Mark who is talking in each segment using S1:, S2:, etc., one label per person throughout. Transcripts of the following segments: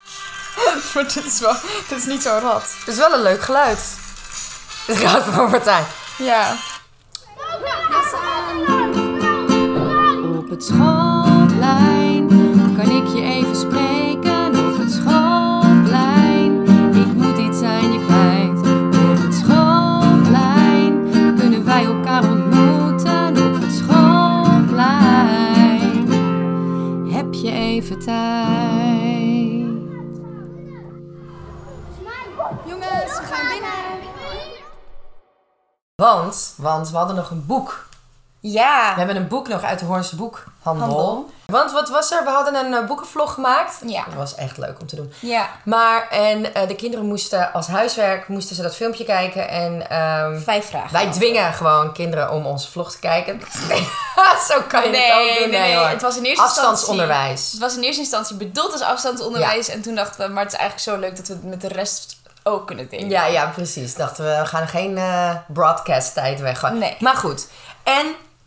S1: maar dit is wel... Dit is niet zo'n rat.
S2: Het is wel een leuk geluid. Het gaat voor een partij.
S1: Ja.
S3: Op het schoolplein kan ik je even spreken. Op het schoolplein, ik moet iets aan je kwijt. Op het schoolplein kunnen wij elkaar ontmoeten. Op het schoolplein heb je even tijd. Jongens, we gaan binnen.
S2: Want, want we hadden nog een boek. We
S1: Ja.
S2: hebben een boek nog uit de Hoornse boekhandel.
S1: Handel.
S2: Want wat was er? We hadden een eh, boekenvlog gemaakt.
S1: Ja.
S2: Dat was echt leuk om te doen.
S1: Ja.
S2: Maar, en eh, de kinderen moesten als huiswerk, moesten ze dat filmpje kijken. En ehm,
S1: Vijf vragen.
S2: wij dwingen gewoon kinderen om onze vlog te kijken. Zo kan je
S1: Nee,
S2: het ook
S1: nee,
S2: doen.
S1: nee,
S2: hoor.
S1: Het was in eerste instantie...
S2: Afstandsonderwijs.
S1: Het was in eerste instantie bedoeld als afstandsonderwijs. En toen dachten we, maar het is eigenlijk zo leuk dat we het met de rest ook kunnen delen.
S2: Ja, ja, precies. Dachten we, we gaan geen broadcast tijd weggooien.
S1: Nee.
S2: Maar goed. En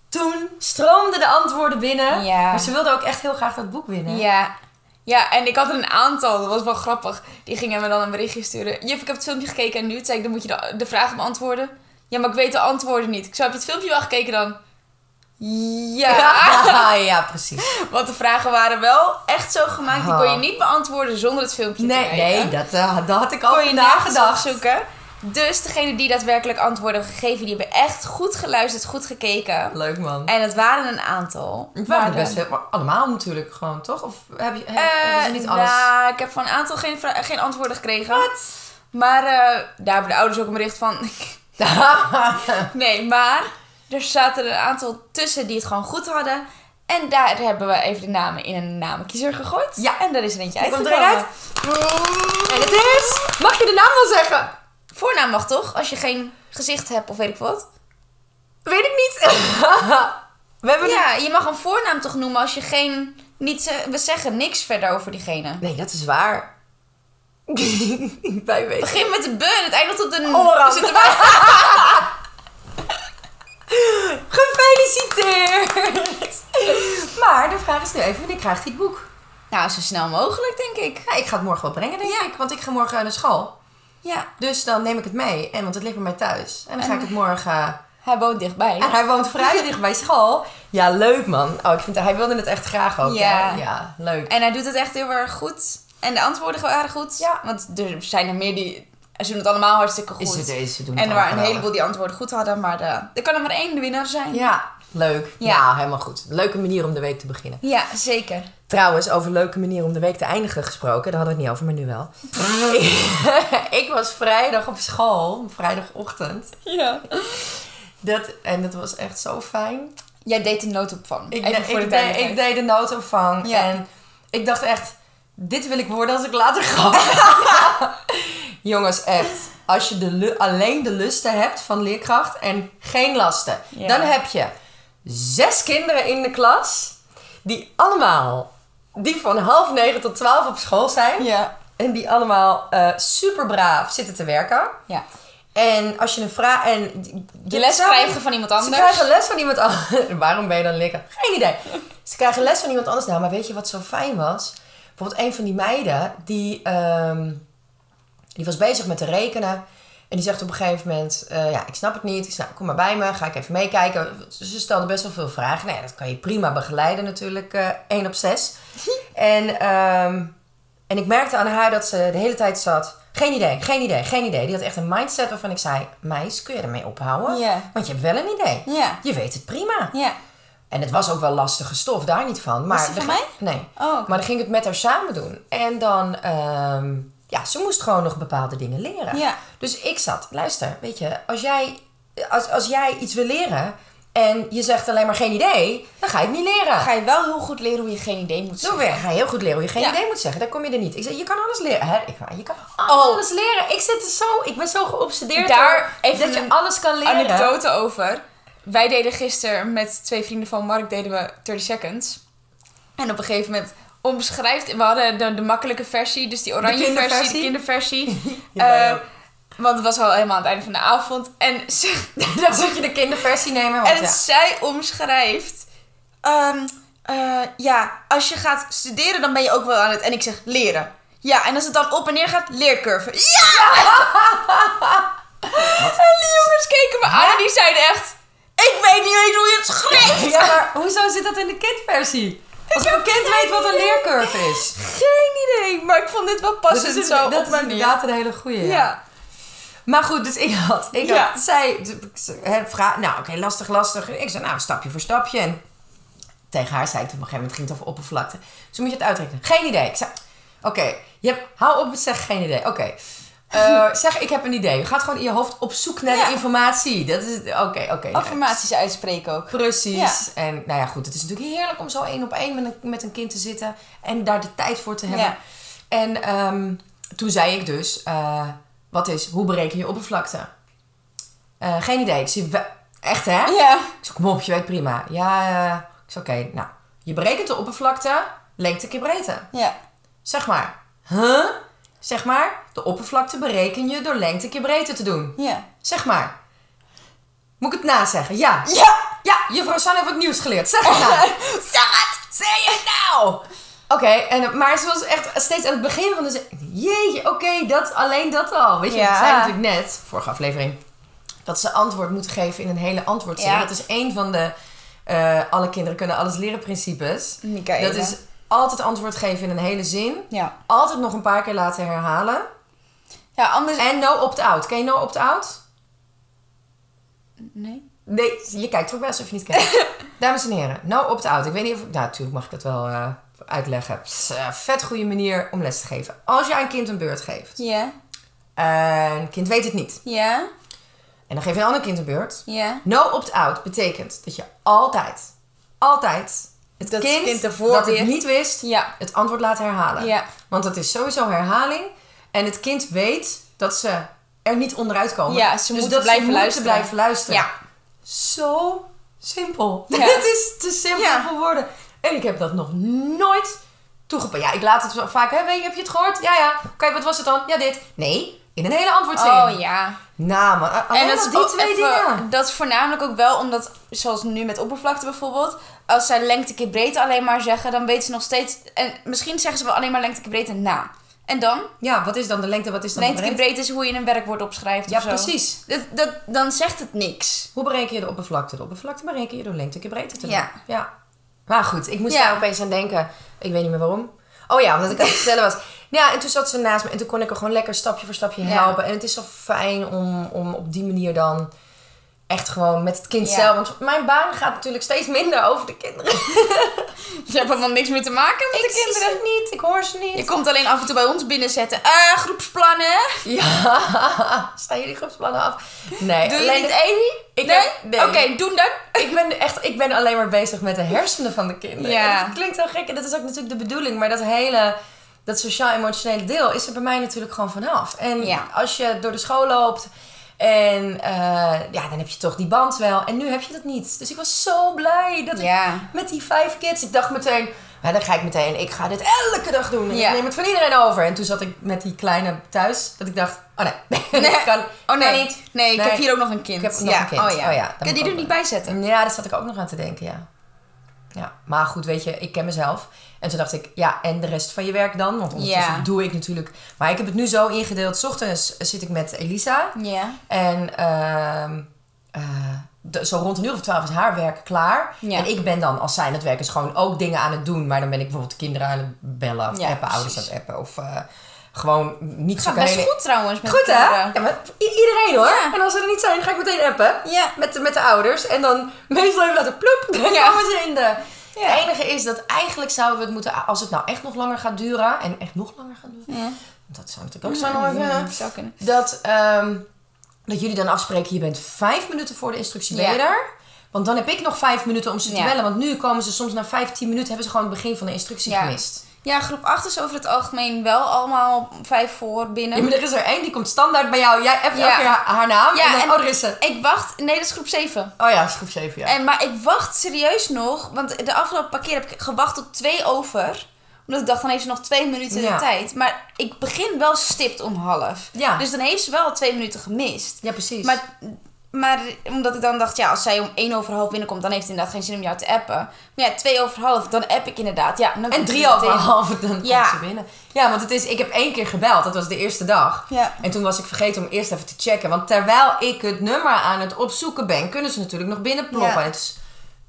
S2: toen stroomden de antwoorden binnen.
S1: Ja.
S2: Maar ze wilden ook echt heel graag dat boek winnen.
S1: Ja. Ja, en ik had er een aantal, dat was wel grappig. Die gingen me dan een berichtje sturen. Juf, ik heb het filmpje gekeken en nu Toen zei ik, dan moet je de, de vraag beantwoorden. Ja, maar ik weet de antwoorden niet. Ik zou, heb je het filmpje wel gekeken dan? Ja.
S2: Ja, ja, precies.
S1: Want de vragen waren wel echt zo gemaakt. Die kon je
S2: Ah.
S1: niet beantwoorden zonder het filmpje te
S2: Nee,
S1: kijken.
S2: nee dat, eh, daar had ik al
S1: kon je
S2: in
S1: nagedacht
S2: nagedacht.
S1: zoeken. Dus degene die daadwerkelijk antwoorden gegeven, die hebben echt goed geluisterd, goed gekeken.
S2: Leuk man.
S1: En het waren een aantal.
S2: Het waren
S1: Maar,
S2: best wel, maar allemaal natuurlijk gewoon, toch? Of heb je, heb,
S1: eh,
S2: hebben ze niet alles?
S1: Nou, ik heb van een aantal geen, vra- geen antwoorden gekregen. Maar eh, daar hebben de ouders ook een bericht van. nee, maar er zaten een aantal tussen die het gewoon goed hadden. En daar hebben we even de namen in een namenkiezer gegooid.
S2: Ja.
S1: En daar is er eentje
S2: Hier komt
S1: uitgekomen.
S2: er een uit. En het is... Mag je de naam wel zeggen?
S1: Voornaam mag toch? Als je geen gezicht hebt of weet ik wat.
S2: Weet ik niet. We hebben
S1: Ja, je mag een voornaam toch noemen als je geen... Niet ze- we zeggen niks verder over diegene.
S2: Nee, dat is waar. Wij weten.
S1: Begin met de B en het eindigt op de... n.
S2: Oran.
S1: Dus het wa-
S2: Gefeliciteerd! maar de vraag is nu even, wanneer krijgt hij het boek?
S1: Nou, zo snel mogelijk, denk ik.
S2: Ja, ik ga het morgen wel brengen, denk ik. Want ik ga morgen naar school.
S1: Ja,
S2: Dus dan neem ik het mee. En want het ligt bij mij thuis. En dan ga ik het morgen...
S1: hij woont dichtbij.
S2: En hij woont vrij dicht bij school. Ja, leuk man. Oh, ik vind, hij wilde het echt graag ook. hè?
S1: Ja.
S2: Ja, leuk.
S1: En hij doet het echt heel erg goed. En de antwoorden waren goed.
S2: Ja.
S1: Want er zijn er meer die... Ze doen het allemaal hartstikke goed.
S2: Is het deze doen
S1: en er
S2: het
S1: waren een
S2: allemaal
S1: heleboel die antwoorden goed hadden. Maar de, er kan er maar één de winnaar zijn.
S2: Ja, leuk.
S1: Ja.
S2: Ja. helemaal goed. Leuke manier om de week te beginnen.
S1: Ja, zeker.
S2: Trouwens, over leuke manier om de week te eindigen gesproken. Daar hadden we het niet over, maar nu wel. ik was vrijdag op school. Vrijdagochtend.
S1: Ja.
S2: Dat, en dat was echt zo fijn.
S1: Jij deed de noodopvang.
S2: Ik,
S1: Even
S2: de-
S1: voor de
S2: ik, de,
S1: duidelijkheid.
S2: ik deed de noodopvang.
S1: Ja.
S2: En ik dacht echt, dit wil ik worden als ik later ga. Jongens, echt. Als je de, lu- alleen de lusten hebt van leerkracht en geen lasten.
S1: Ja.
S2: Dan heb je zes kinderen in de klas. Die allemaal, die van half negen tot twaalf op school zijn.
S1: Ja.
S2: En die allemaal super braaf zitten te werken.
S1: Ja.
S2: En als je een vraag... En
S1: Je les
S2: Samen-
S1: krijgen van iemand anders.
S2: ze krijgen les van iemand anders. Waarom ben je dan lekker? Geen idee. Ze krijgen les van iemand anders. Nou, maar weet je wat zo fijn was? Bijvoorbeeld een van die meiden, die, ehm, die was bezig met te rekenen. En die zegt op een gegeven moment, eh, ja, ik snap het niet. Ik snap, kom maar bij me, ga ik even meekijken. Ze stelde best wel veel vragen. Nou ja, dat kan je prima begeleiden natuurlijk, eh 1 op 6. en, ehm, en ik merkte aan haar dat ze de hele tijd zat... Geen idee, geen idee, geen idee. Die had echt een mindset waarvan ik zei... Meis, kun je ermee ophouden?
S1: Ja.
S2: Want je hebt wel een idee.
S1: Ja.
S2: Je weet het prima.
S1: Ja.
S2: En het was ook wel lastige stof, daar niet van. Maar
S1: Was die
S2: dan
S1: van
S2: ging- Nee.
S1: Oh, oké.
S2: Maar dan ging ik het met haar samen doen. En dan, ehm, ja, ze moest gewoon nog bepaalde dingen leren.
S1: Ja.
S2: Dus ik zat, luister, weet je, als jij, als, als jij iets wil leren en je zegt alleen maar geen idee, dan ga je het niet leren.
S1: Ga je wel heel goed leren hoe je geen idee moet
S2: Zo
S1: zeggen.
S2: weer, ga je heel goed leren hoe je geen
S1: Ja. Oh.
S2: idee moet zeggen. Daar kom je er niet. Ik zei, je kan alles leren. Hè? Ik, je kan alles leren. Ik zit er zo, ik ben zo geobsedeerd
S1: Daar
S2: door
S1: even
S2: dat je
S1: een
S2: alles kan leren.
S1: Anekdote over. Wij deden gisteren met twee vrienden van Mark deden we 30 seconds. En op een gegeven moment omschrijft... We hadden de, de makkelijke versie, dus die oranje versie, de
S2: kinderversie.
S1: kinderversie.
S2: Ja, wij
S1: Eh,
S2: ook.
S1: want het was al helemaal aan het einde van de avond. En ze,
S2: Dan moet je de kinderversie nemen. Want
S1: En
S2: ja.
S1: zij omschrijft. ehm, eh, ja, als je gaat studeren, dan ben je ook wel aan het. En ik zeg leren. Ja, en als het dan op en neer gaat, leercurve. Ja! en die jongens keken me aan en die zeiden echt... Ik weet niet eens hoe je het schrijft!
S2: Ja, maar hoezo zit dat in de kindversie? Als een kind weet wat een leercurve is.
S1: Geen idee, maar ik vond dit wel
S2: Dat
S1: passend
S2: is,
S1: zo
S2: dat
S1: op
S2: is
S1: mijn manier.
S2: inderdaad een hele goede.
S1: Ja.
S2: Ja. Maar goed, dus ik had, ik
S1: Ja.
S2: had, zij, hè, vraag, nou oké, lastig, lastig. Ik zei, nou, stapje voor stapje. En tegen haar zei ik toen op een gegeven moment, ging het over oppervlakte. Dus dan moet je het uitrekenen. Geen idee. Ik zei, oké, je hebt, hou op met zeggen geen idee. Oké, Eh, zeg ik heb een idee. Je gaat gewoon in je hoofd op zoek naar
S1: Ja.
S2: de informatie. Dat is, het. oké, oké. nou,
S1: Affirmaties uitspreken ook.
S2: Precies. En nou ja, goed, het is natuurlijk heerlijk om zo één op één met een, met een kind te zitten en daar de tijd voor te hebben.
S1: Ja.
S2: En ehm, toen zei ik dus, eh, wat is, hoe bereken je oppervlakte? Eh, geen idee. Ik zie, we- echt hè?
S1: Ja.
S2: Ik zei, kom op, je weet prima. Ja, eh, ik zei, oké, nou, je berekent de oppervlakte, lengte keer breedte.
S1: Ja.
S2: Zeg maar, huh? Zeg maar, de oppervlakte bereken je door lengte keer breedte te doen.
S1: Ja.
S2: Zeg maar. Moet ik het nazeggen? Ja.
S1: Ja!
S2: Ja, juffrouw Sanne heeft wat nieuws geleerd. Zeg het nou. zeg het! Zeg het nou! Oké, en maar ze was echt steeds aan het begin van de... zin- Jeetje, oké, dat, alleen dat al. Weet je,
S1: Ja.
S2: we zei natuurlijk net, vorige aflevering... dat ze antwoord moeten geven in een hele antwoordzin.
S1: Ja.
S2: Dat is één van de eh, alle kinderen kunnen alles leren principes.
S1: Micaela.
S2: Dat is altijd antwoord geven in een hele zin.
S1: Ja.
S2: Altijd nog een paar keer laten herhalen.
S1: Ja, anders...
S2: En no opt-out. Ken je no opt-out?
S1: Nee?
S2: Nee, je kijkt toch best of je niet kijkt. Dames en heren, nou op de auto. Ik weet niet of... Nou, natuurlijk mag ik dat wel eh, uitleggen. Pss, eh, vet goede manier om les te geven. Als je aan een kind een beurt geeft.
S1: Ja.
S2: En een kind weet het niet.
S1: Ja.
S2: En dan geef je een ander kind een beurt.
S1: Ja.
S2: No opt-out betekent dat je altijd, altijd het
S1: Dat het
S2: kind,
S1: kind ervoor
S2: dat het
S1: weer-
S2: niet wist,
S1: Ja.
S2: het antwoord laat herhalen.
S1: Ja.
S2: Want dat is sowieso herhaling. En het kind weet dat ze er niet onderuit komen.
S1: Ja, ze
S2: dus
S1: moeten
S2: dat
S1: blijven
S2: ze moeten
S1: luisteren.
S2: blijven luisteren.
S1: Ja.
S2: Zo simpel.
S1: Ja.
S2: het is te simpel
S1: Ja.
S2: voor woorden. En ik heb dat nog nooit toegepast. Ja, ik laat het wel vaak. Hè, weet je, heb je het gehoord? Ja, ja. Oké, wat was het dan? Ja, dit. Nee, in een hele antwoordzin.
S1: Oh ja.
S2: Nou, man. a- Alleen
S1: en dat
S2: maar
S1: is
S2: die
S1: ook
S2: twee
S1: even-
S2: dingen.
S1: Dat is voornamelijk ook wel omdat, zoals nu met oppervlakte bijvoorbeeld, als zij lengte keer breedte alleen maar zeggen, dan weten ze nog steeds. En misschien zeggen ze wel alleen maar lengte keer breedte na. En dan?
S2: Ja, wat is dan de lengte? Wat is dan
S1: lengte
S2: de
S1: keer
S2: breedte?
S1: breedte is hoe je een werkwoord opschrijft.
S2: Ja,
S1: of zo.
S2: precies.
S1: Dat, dat, dan zegt het niks.
S2: Hoe bereken je de oppervlakte? De oppervlakte bereken je door lengte keer breedte te doen.
S1: Ja.
S2: ja. Maar goed, ik moest
S1: Ja.
S2: daar opeens aan denken. Ik weet niet meer waarom. Oh ja, omdat ik aan het vertellen was. Ja, en toen zat ze naast me en toen kon ik haar gewoon lekker stapje voor stapje
S1: Ja.
S2: helpen. En het is zo fijn om, om op die manier dan echt gewoon met het kind
S1: Ja.
S2: zelf. Want mijn baan gaat natuurlijk steeds minder over de kinderen.
S1: Je hebt helemaal niks meer te maken met
S2: ik
S1: de
S2: zie
S1: kinderen.
S2: ze niet, ik hoor ze niet.
S1: Je komt alleen af en toe bij ons binnenzetten. Eh, groepsplannen.
S2: Ja, staan jullie groepsplannen af? Nee,
S1: Doe je
S2: alleen
S1: niet
S2: de-
S1: één?
S2: ik
S1: nee?
S2: heb- nee.
S1: Oké, doen dan.
S2: ik ben echt, ik ben alleen maar bezig met de hersenen van de kinderen.
S1: Ja.
S2: En Dat klinkt heel gek en dat is ook natuurlijk de bedoeling, maar dat hele dat sociaal-emotionele deel is er bij mij natuurlijk gewoon vanaf. En
S1: Ja.
S2: als je door de school loopt en eh, ja, dan heb je toch die band wel. En nu heb je dat niet. Dus ik was zo blij dat
S1: Ja.
S2: ik met die vijf kids, ik dacht meteen, maar dan ga ik meteen, ik ga dit elke dag doen. En
S1: Ja.
S2: ik neem het van iedereen over. En toen zat ik met die kleine thuis, dat ik dacht, oh nee, dat kan,
S1: Oh nee.
S2: kan
S1: Nee,
S2: niet.
S1: ik
S2: Nee.
S1: heb hier ook nog een kind.
S2: Ik heb nog een kind.
S1: Oh ja.
S2: Oh ja,
S1: Kun
S2: dan
S1: je
S2: moet
S1: die
S2: ook
S1: er niet bij zetten?
S2: Ja, daar zat ik ook nog aan te denken, ja. Ja, maar goed, weet je, ik ken mezelf. En toen dacht ik, ja, en de rest van je werk dan? Want ondertussen
S1: Ja.
S2: doe ik natuurlijk... Maar ik heb het nu zo ingedeeld. 's ochtends zit ik met Elisa.
S1: Ja.
S2: En ehm, eh, de- zo rond een uur of twaalf is haar werk klaar.
S1: Ja.
S2: En ik ben dan, als zij aan het werk is, gewoon ook dingen aan het doen. Maar dan ben ik bijvoorbeeld kinderen aan het bellen. Of
S1: Ja,
S2: appen, ouders aan
S1: precies.
S2: het appen. Of eh, gewoon niet zo
S1: Gaat best goed trouwens met eh,
S2: Goed hè?
S1: kinderen.
S2: Ja, maar i- iedereen hoor.
S1: Ja.
S2: En als ze er niet zijn, ga ik meteen appen.
S1: Ja.
S2: Met, de, met de ouders. En dan meestal even laten ploep. Dan
S1: Ja.
S2: komen ze in de...
S1: Ja.
S2: Het enige is dat eigenlijk zouden we het moeten... Als het nou echt nog langer gaat duren. En echt nog langer gaat duren.
S1: Ja. Mm,
S2: Dat zou natuurlijk ook zo nog even...
S1: zou kunnen.
S2: Dat, ehm, dat jullie dan afspreken, je bent vijf minuten voor de instructie ben
S1: Ja.
S2: je er. Want dan heb ik nog vijf minuten om ze te
S1: Ja.
S2: bellen. Want nu komen ze soms na vijftien minuten... hebben ze gewoon het begin van de instructie
S1: Ja.
S2: gemist.
S1: Ja, groep 8 is over het algemeen wel allemaal vijf voor binnen.
S2: Ja, maar er is er één die komt standaard bij jou. Jij even
S1: Ja.
S2: elke keer haar, haar naam.
S1: Ja,
S2: en dan,
S1: en-
S2: oh, er is ze.
S1: Ik wacht, nee, dat is groep 7.
S2: Oh ja, schroef 7, ja.
S1: En, maar ik wacht serieus nog, want de afgelopen paar keer heb ik gewacht tot twee over. Omdat ik dacht, dan heeft ze nog twee minuten de
S2: Ja.
S1: tijd. Maar ik begin wel stipt om half.
S2: Ja.
S1: Dus dan heeft ze wel twee minuten gemist.
S2: Ja, precies.
S1: Maar Maar omdat ik dan dacht, ja, als zij om één over half binnenkomt, dan heeft het inderdaad geen zin om jou te appen. Maar ja, twee over half, dan app ik inderdaad. Ja, en dan
S2: En
S1: komt
S2: drie
S1: ze
S2: over
S1: meteen.
S2: half, dan komt
S1: Ja.
S2: ze binnen. Ja, want het is, ik heb één keer gebeld. Dat was de eerste dag.
S1: Ja.
S2: En toen was ik vergeten om eerst even te checken. Want terwijl ik het nummer aan het opzoeken ben, kunnen ze natuurlijk nog binnenploppen.
S1: Ja.
S2: Dus,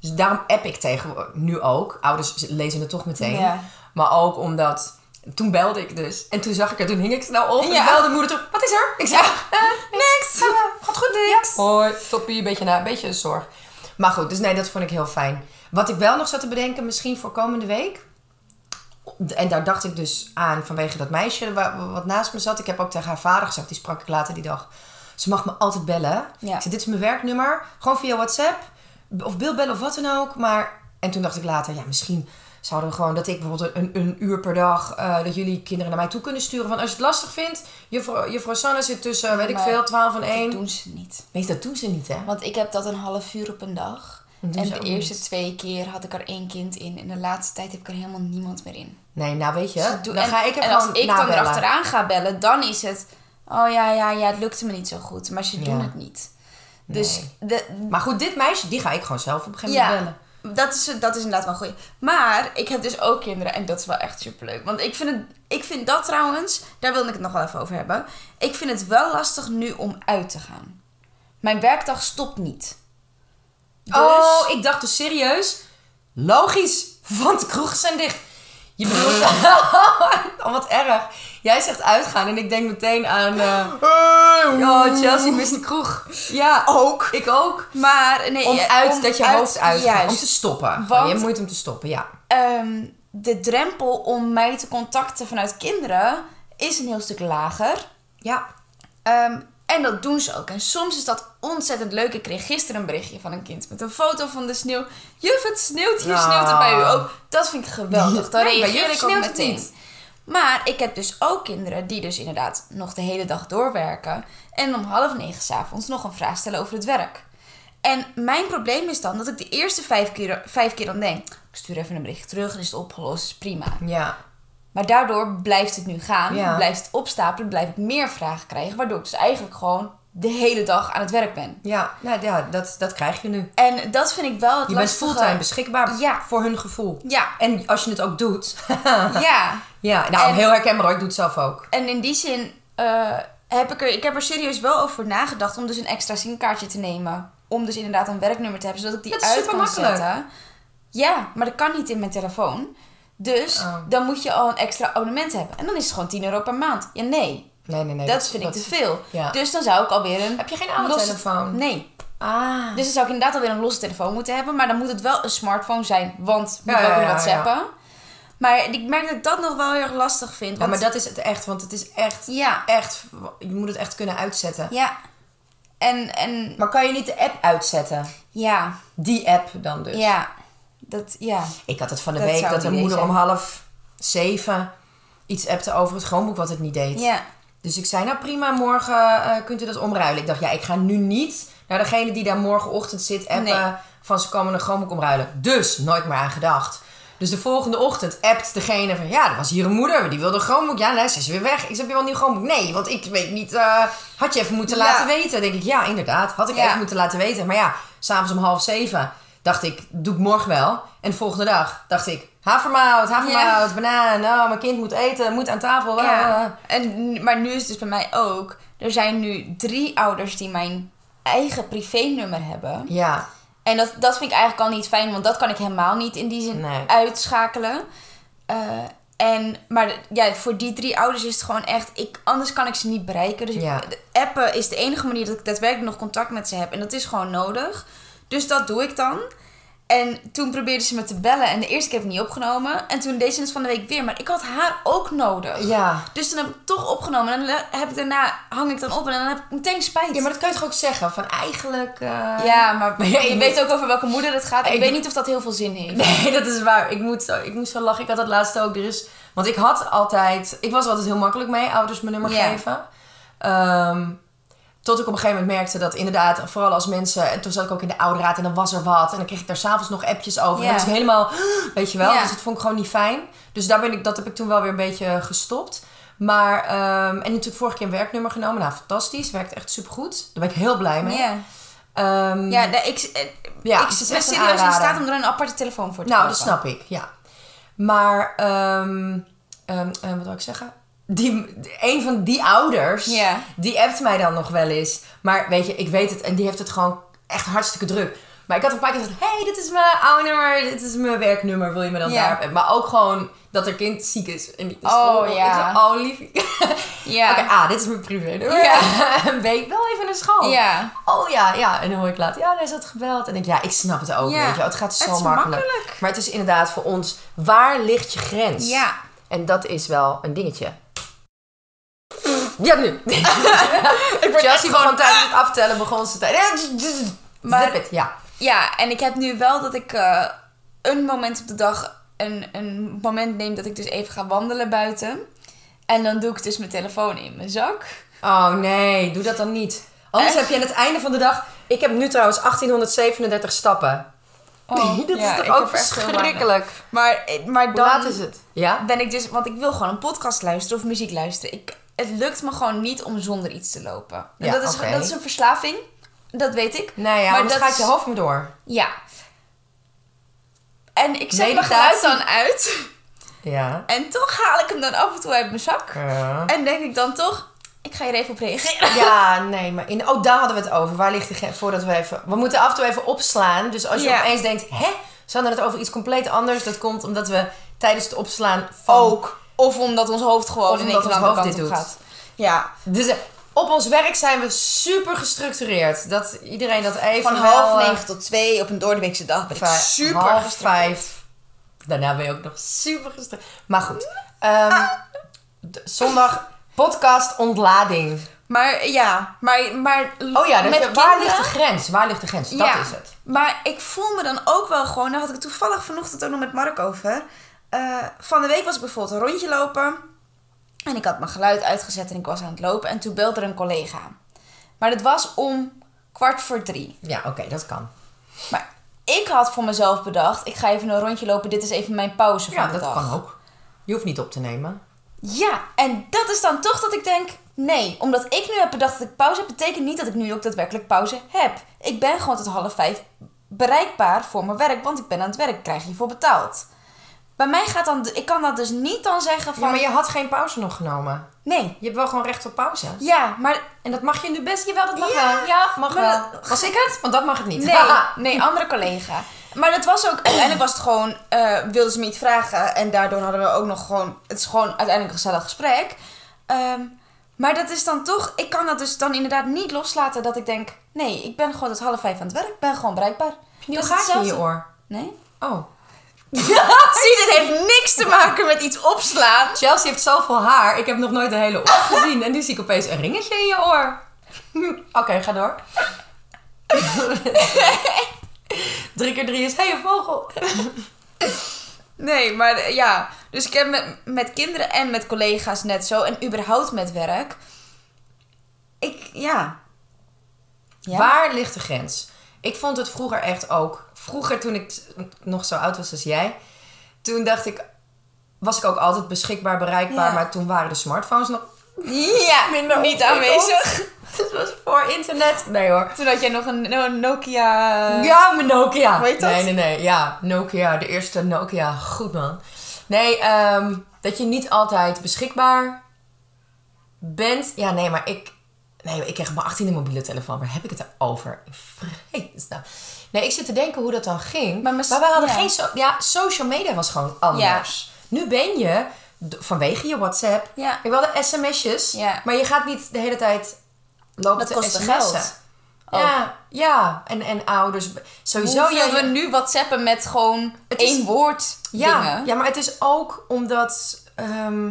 S2: dus daarom app ik tegenwoordig, nu ook. Ouders lezen het toch meteen.
S1: Ja.
S2: Maar ook omdat, toen belde ik dus. En toen zag ik het, toen hing ik snel op. En
S1: Ja.
S2: belde moeder terug, wat is er? Ik zei, eh, niks. Gaat goed, niks. Hoi, toppie, een beetje, na, een beetje zorg. Maar goed, dus nee, dat vond ik heel fijn. Wat ik wel nog zat te bedenken, misschien voor komende week. En daar dacht ik dus aan vanwege dat meisje wa- wat naast me zat. Ik heb ook tegen haar vader gezegd, die sprak ik later die dag. Ze mag me altijd bellen.
S1: Ja.
S2: Ik zei, dit is mijn werknummer. Gewoon via WhatsApp. B- Of beeldbellen of wat dan ook. Maar... En toen dacht ik later, ja, misschien zouden we gewoon... dat ik bijvoorbeeld een, een uur per dag... eh, dat jullie kinderen naar mij toe kunnen sturen. Van als je het lastig vindt, juffrou, juffrouw Sanne zit tussen, weet ik
S1: Maar
S2: veel, 12 en
S1: Dat
S2: 1.
S1: doen ze niet.
S2: Nee, dat doen ze niet, hè?
S1: Want ik heb dat een half uur op een dag.
S2: Dat doen
S1: En
S2: ze
S1: de
S2: ook
S1: eerste
S2: niet.
S1: twee keer had ik er één kind in. En de laatste tijd heb ik er helemaal niemand meer in.
S2: Nee, nou weet je,
S1: Dus dat doe-
S2: dan
S1: en,
S2: ga ik er
S1: en
S2: gewoon
S1: als ik dan
S2: nabellen.
S1: erachteraan ga bellen, dan is het... Oh ja, ja, ja, het lukte me niet zo goed. Maar ze doen
S2: Ja.
S1: het niet. Dus de,
S2: Maar goed, dit meisje, die ga ik gewoon zelf op een gegeven moment
S1: ja, dat is, dat is inderdaad wel goed. Maar ik heb dus ook kinderen en dat is wel echt superleuk. Want ik vind, het, ik vind dat trouwens, daar wilde ik het nog wel even over hebben. Ik vind het wel lastig nu om uit te gaan. Mijn werkdag stopt niet. Dus,
S2: bellen. Oh, ik dacht dus serieus, logisch, want de kroegen zijn dicht. Je bedoelt, oh wat erg. Jij zegt uitgaan en ik denk meteen aan, eh, oh Chelsea mist de kroeg. Ja, ook. Ik ook.
S1: maar nee,
S2: Om
S1: ja,
S2: uit
S1: om
S2: dat je
S1: uit-
S2: hoofd uitgaat, om
S1: Juist.
S2: te stoppen. Oh,
S1: Want-
S2: je hebt moeite om te stoppen, ja.
S1: Ehm, de drempel om mij te contacten vanuit kinderen is een heel stuk lager.
S2: Ja.
S1: Ehm, en dat doen ze ook. En soms is dat ontzettend leuk. Ik kreeg gisteren een berichtje van een kind met een foto van de sneeuw. Juf, het sneeuwt hier,
S2: Ah.
S1: sneeuwt het bij u ook. Dat vind ik geweldig. Dan
S2: Ja, bij
S1: reageer
S2: juf
S1: ik ook
S2: sneeuwt het
S1: meteen.
S2: niet.
S1: Maar ik heb dus ook kinderen die dus inderdaad nog de hele dag doorwerken. En om half negen s'avonds nog een vraag stellen over het werk. En mijn probleem is dan dat ik de eerste vijf keer, vijf keer dan denk... Ik stuur even een berichtje terug en is het opgelost, is prima.
S2: Ja.
S1: Maar daardoor blijft het nu gaan,
S2: Ja.
S1: blijft het opstapelen, blijf ik meer vragen krijgen. Waardoor ik dus eigenlijk gewoon de hele dag aan het werk ben.
S2: Ja, nou, ja dat, dat krijg je nu.
S1: En dat vind ik wel het
S2: Je bent
S1: lastige.
S2: fulltime beschikbaar
S1: Ja.
S2: voor hun gevoel.
S1: Ja,
S2: En als je het ook doet.
S1: ja.
S2: ja, nou,
S1: En-
S2: heel herkenbaar hoor. Ik doe het zelf ook.
S1: En in die zin eh, heb ik er, ik heb er serieus wel over nagedacht om dus een extra simkaartje te nemen. Om dus inderdaad een werknummer te hebben, zodat ik die
S2: Dat is
S1: uit kan
S2: supermakkelijk.
S1: zetten. Ja, maar dat kan niet in mijn telefoon. Dus
S2: Oh.
S1: dan moet je al een extra abonnement hebben. En dan is het gewoon 10 euro per maand. Ja, nee.
S2: Nee, nee, nee.
S1: dat vind ik te veel.
S2: ja.
S1: Dus dan zou ik alweer een...
S2: Heb je geen oude
S1: losse-
S2: telefoon?
S1: Nee.
S2: Ah.
S1: Dus dan zou ik inderdaad alweer een losse telefoon moeten hebben. Maar dan moet het wel een smartphone zijn. Want moet
S2: Ja,
S1: ik ook
S2: ja,
S1: weer
S2: ja,
S1: WhatsAppen. Maar ik merk dat ik dat nog wel heel erg lastig vind.
S2: Ja,
S1: Want,
S2: maar dat is het echt. Want het is echt,
S1: Ja.
S2: echt... Je moet het echt kunnen uitzetten.
S1: Ja. En, en
S2: Maar kan je niet de app uitzetten?
S1: ja.
S2: Die app dan dus.
S1: Ja. Dat, ja.
S2: Ik had het van de
S1: Dat
S2: week
S1: zou
S2: dat de
S1: een idee
S2: moeder
S1: zijn.
S2: om half zeven iets appte over het schoonboek wat het niet deed.
S1: Ja.
S2: Dus ik zei, nou prima, morgen eh, kunt u dat omruilen. Ik dacht, ja, ik ga nu niet naar degene die daar morgenochtend zit appen
S1: Nee.
S2: van ze komen een groenboek omruilen. Dus nooit meer aan gedacht. Dus de volgende ochtend appt degene van, ja, er was hier een moeder, maar die wilde een groenboek. Ja, nou, ze is weer weg. Ik zeg, heb je wel een nieuw groenboek? Nee, want ik weet niet, eh, had je even moeten
S1: Ja.
S2: laten weten. Dan denk ik, ja, inderdaad, had ik
S1: Ja.
S2: even moeten laten weten. Maar ja, s'avonds om half zeven dacht ik, doe ik morgen wel. En de volgende dag dacht ik, havermout, havermout, banaan, oh, mijn kind moet eten, moet aan tafel. eh, eh.
S1: ja. En, maar nu is het dus bij mij ook. Er zijn nu drie ouders die mijn eigen privénummer hebben.
S2: Ja,
S1: En dat, dat vind ik eigenlijk al niet fijn, want dat kan ik helemaal niet in die zin
S2: Nee.
S1: uitschakelen. Eh, en, maar de- ja, voor die drie ouders is het gewoon echt, ik, anders kan ik ze niet bereiken. Dus ik-
S2: Ja.
S1: de appen is de enige manier dat ik daadwerkelijk nog contact met ze heb. En dat is gewoon nodig. Dus dat doe ik dan. En toen probeerde ze me te bellen en de eerste keer heb ik niet opgenomen. En toen deed ze het van de week weer, maar ik had haar ook nodig.
S2: ja.
S1: Dus toen heb ik het toch opgenomen en dan heb ik daarna, hang ik dan op en dan heb ik meteen spijt.
S2: Ja, maar dat kan je toch ook zeggen? Van eigenlijk... eh,
S1: Ja, maar
S2: Ja, ik
S1: je
S2: moet-
S1: weet ook over welke moeder het gaat. Ik,
S2: Ik-
S1: weet niet of dat heel veel zin heeft.
S2: Nee, dat is waar. Ik, moet zo, ik moest zo lachen. Ik had dat laatste ook. Er is, want ik had altijd... Ik was er altijd heel makkelijk mee. Ouders mijn nummer
S1: Ja.
S2: geven. Ehm, tot ik op een gegeven moment merkte dat inderdaad... Vooral als mensen... En toen zat ik ook in de ouderraad en dan was er wat. En dan kreeg ik daar s'avonds nog appjes over. En
S1: Ja.
S2: dan was ik helemaal... Weet je wel?
S1: Ja.
S2: Dus dat vond ik gewoon niet fijn. Dus daar ben ik, dat heb ik toen wel weer een beetje gestopt. Maar... ehm, en natuurlijk vorige keer een werknummer genomen. Nou, fantastisch. Werkt echt supergoed. Daar ben ik heel blij mee.
S1: Ja.
S2: Ehm,
S1: Ja, nee, ik, eh,
S2: Ja,
S1: ik
S2: het is
S1: ben
S2: echt een
S1: serieus in
S2: aanrader.
S1: staat om er een aparte telefoon voor te
S2: Nou, dat
S1: kopen.
S2: snap ik, ja. Maar, ehm, ehm, ehm, wat wil ik zeggen? Die, een van die ouders,
S1: Ja.
S2: die appt mij dan nog wel eens. Maar weet je, ik weet het en die heeft het gewoon echt hartstikke druk. Maar ik had een paar keer gezegd, hey, dit is mijn oude nummer, dit is mijn werknummer, wil je me dan
S1: Ja.
S2: daar... Maar ook gewoon dat er kind ziek is en niet naar
S1: Oh,
S2: school wil.
S1: ja.
S2: Ik zeg, oh, lief.
S1: Ja.
S2: Oké, A, dit is mijn privé nummer.
S1: Ja.
S2: en B, wel even naar school.
S1: Ja.
S2: Oh ja, ja. En dan hoor ik later, ja, daar is dat gebeld. En ik, denk, ja, ik snap het ook,
S1: Ja.
S2: weet je wel. Het gaat zo
S1: Het is makkelijk.
S2: maar het is inderdaad voor ons, waar ligt je grens?
S1: Ja.
S2: En dat is wel een dingetje. Ja, nu. ik word Chelsea begon tijdens het aftellen, begon ze tijd.
S1: Maar-
S2: Zip het, ja.
S1: Ja, en ik heb nu wel dat ik eh, een moment op de dag, een, een moment neem dat ik dus even ga wandelen buiten. En dan doe ik dus mijn telefoon in mijn zak.
S2: Oh nee, doe dat dan niet. Anders
S1: Echt?
S2: heb je aan het einde van de dag... Ik heb nu trouwens 1837 stappen.
S1: Oh,
S2: dat
S1: ja,
S2: is
S1: ik
S2: toch ook
S1: heb echt heel
S2: verschrikkelijk.
S1: weinig. Maar, eh, maar
S2: Hoe
S1: dan
S2: laat is het? Ja?
S1: ben ik dus, want ik wil gewoon een podcast luisteren of muziek luisteren. Ik, het lukt me gewoon niet om zonder iets te lopen. En
S2: Ja,
S1: dat, is,
S2: oké.
S1: dat is een verslaving, dat weet ik.
S2: Nou ja,
S1: Maar
S2: anders
S1: dat
S2: gaat
S1: is-
S2: je hoofd me door.
S1: Ja. En ik zet mijn geluid
S2: Meditatie.
S1: dan uit.
S2: Ja. Eh.
S1: En toch haal ik hem dan af en toe uit mijn zak.
S2: Ja.
S1: En denk ik dan toch, ik ga hier even op reageren.
S2: Ja, nee, maar in, oh, daar hadden we het over. Waar ligt de grens? Voordat we even. We moeten af en toe even opslaan. Dus als je
S1: Ja.
S2: opeens denkt, hè, ze hadden het over iets compleet anders. Dat komt omdat we tijdens het opslaan van-
S1: Ook. Of omdat ons hoofd gewoon
S2: Of
S1: in één
S2: omdat
S1: keer
S2: ons
S1: de andere
S2: hoofd
S1: kant
S2: dit
S1: op gaat.
S2: doet.
S1: Ja.
S2: Dus eh, op ons werk zijn we super gestructureerd. Dat iedereen dat even.
S1: Van
S2: wel,
S1: half
S2: eh,
S1: negen tot twee op een doordeweekse dag ben ik
S2: vij-
S1: super
S2: half
S1: gestrest.
S2: vijf. Daarna ben je ook nog super gestructureerd. Maar goed. ehm, d- zondag podcast ontlading.
S1: Maar ja, maar, maar
S2: Oh ja, dat
S1: met
S2: je- waar ligt
S1: kinderen-
S2: de grens? Waar ligt de grens? Dat
S1: Ja,
S2: is het.
S1: Maar ik voel me dan ook wel gewoon, daar had ik het toevallig vanochtend ook nog met Mark over. Eh, van de week was ik bijvoorbeeld een rondje lopen. En ik had mijn geluid uitgezet en ik was aan het lopen. En toen belde er een collega. Maar dat was om kwart voor drie.
S2: Ja, oké, dat kan.
S1: Maar ik had voor mezelf bedacht, ik ga even een rondje lopen. Dit is even mijn pauze van
S2: Ja,
S1: de
S2: dat
S1: dag.
S2: kan ook. Je hoeft niet op te nemen.
S1: Ja, en dat is dan toch dat ik denk, nee. Omdat ik nu heb bedacht dat ik pauze heb, betekent niet dat ik nu ook daadwerkelijk pauze heb. Ik ben gewoon tot half vijf bereikbaar voor mijn werk, want ik ben aan het werk, krijg je voor betaald. Bij mij gaat dan, ik kan dat dus niet dan zeggen van,
S2: Ja, maar je had geen pauze nog genomen.
S1: nee.
S2: Je hebt wel gewoon recht op pauze.
S1: Ja, maar
S2: En dat mag je nu best. Jawel, dat mag
S1: Ja,
S2: wel. Ja, mag
S1: maar
S2: wel. Was ik het? Want dat mag het niet.
S1: nee, nee, andere collega. Maar dat was ook, uiteindelijk was het gewoon, eh wilden ze me niet vragen. En daardoor hadden we ook nog gewoon, het is gewoon uiteindelijk een gezellig gesprek. Ehm, maar dat is dan toch, ik kan dat dus dan inderdaad niet loslaten dat ik denk, nee, ik ben gewoon tot half vijf aan het werk, ik ben gewoon bereikbaar.
S2: Nu
S1: Dat is
S2: gaat je in je
S1: hetzelfde.
S2: oor.
S1: Nee.
S2: Oh.
S1: Zie, dit heeft niks te maken met iets opslaan.
S2: Chelsea heeft zoveel haar. Ik heb nog nooit de hele oor gezien. En nu zie ik opeens een ringetje in je oor. Oké, ga door. drie keer drie is hé, een vogel.
S1: Nee, maar eh, ja. Dus ik heb met, met kinderen en met collega's net zo. En überhaupt met werk. Ik, ja. Ja.
S2: Waar ligt de grens? Ik vond het vroeger echt ook. Vroeger, toen ik t- nog zo oud was als jij, toen dacht ik, was ik ook altijd beschikbaar, bereikbaar.
S1: Ja.
S2: Maar toen waren de smartphones nog
S1: Ja,
S2: minder
S1: niet
S2: ontwikkeld.
S1: aanwezig.
S2: Het was voor internet. Nee hoor.
S1: Toen had jij nog een, een Nokia... eh,
S2: Ja, mijn Nokia.
S1: Hoe heet dat?
S2: Nee, nee, nee. Ja, Nokia. De eerste Nokia. Goed man. Nee, ehm, dat je niet altijd beschikbaar bent. Ja, nee, maar ik... Nee, maar ik kreeg mijn 18e mobiele telefoon. Waar heb ik het over? Vrees nou. Nee, ik zit te denken hoe dat dan ging.
S1: Maar
S2: Maar,
S1: mis-
S2: we hadden
S1: ja.
S2: geen... so- ja, social media was gewoon anders. Nu ben je... d- Vanwege je WhatsApp.
S1: Ja.
S2: Ik wilde sms'jes.
S1: Ja.
S2: Maar je gaat niet de hele tijd lopen
S1: Dat
S2: te
S1: kostte
S2: sms'en.
S1: geld.
S2: Ja, ja. En, en ouders. Sowieso.
S1: Oh. Hoeveel
S2: ja,
S1: we nu WhatsAppen met gewoon
S2: Het is-
S1: één woord
S2: ja,
S1: dingen.
S2: ja, maar het is ook omdat, ehm,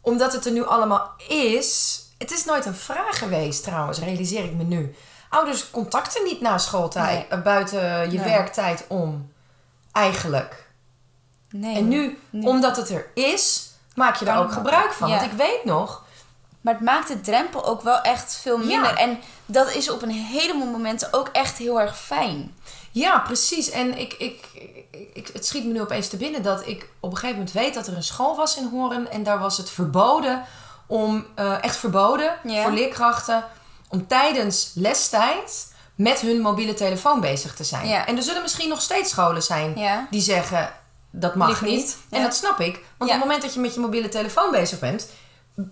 S2: omdat het er nu allemaal is. Het is nooit een vraag geweest trouwens, realiseer ik me nu. Ouders contacten niet na schooltijd,
S1: Nee.
S2: eh, buiten je
S1: Nee.
S2: werktijd om. Eigenlijk.
S1: Nee.
S2: En nu,
S1: Nee.
S2: omdat het er is, maak je
S1: Kan
S2: daar ook
S1: het
S2: gebruik
S1: ook.
S2: van.
S1: Ja.
S2: Want ik weet nog,
S1: Maar het maakt de drempel ook wel echt veel
S2: Ja.
S1: minder. En dat is op een heleboel momenten ook echt heel erg fijn.
S2: Ja, precies. En ik, ik, ik, het schiet me nu opeens te binnen dat ik op een gegeven moment weet dat er een school was in Horen. En daar was het verboden om, eh, echt verboden
S1: Ja.
S2: voor leerkrachten, om tijdens lestijd met hun mobiele telefoon bezig te zijn.
S1: Ja.
S2: En er zullen misschien nog steeds scholen zijn
S1: Ja.
S2: die zeggen dat mag
S1: Lief
S2: niet.
S1: niet.
S2: En
S1: Ja.
S2: dat snap ik, want
S1: Ja.
S2: op het moment dat je met je mobiele telefoon bezig bent,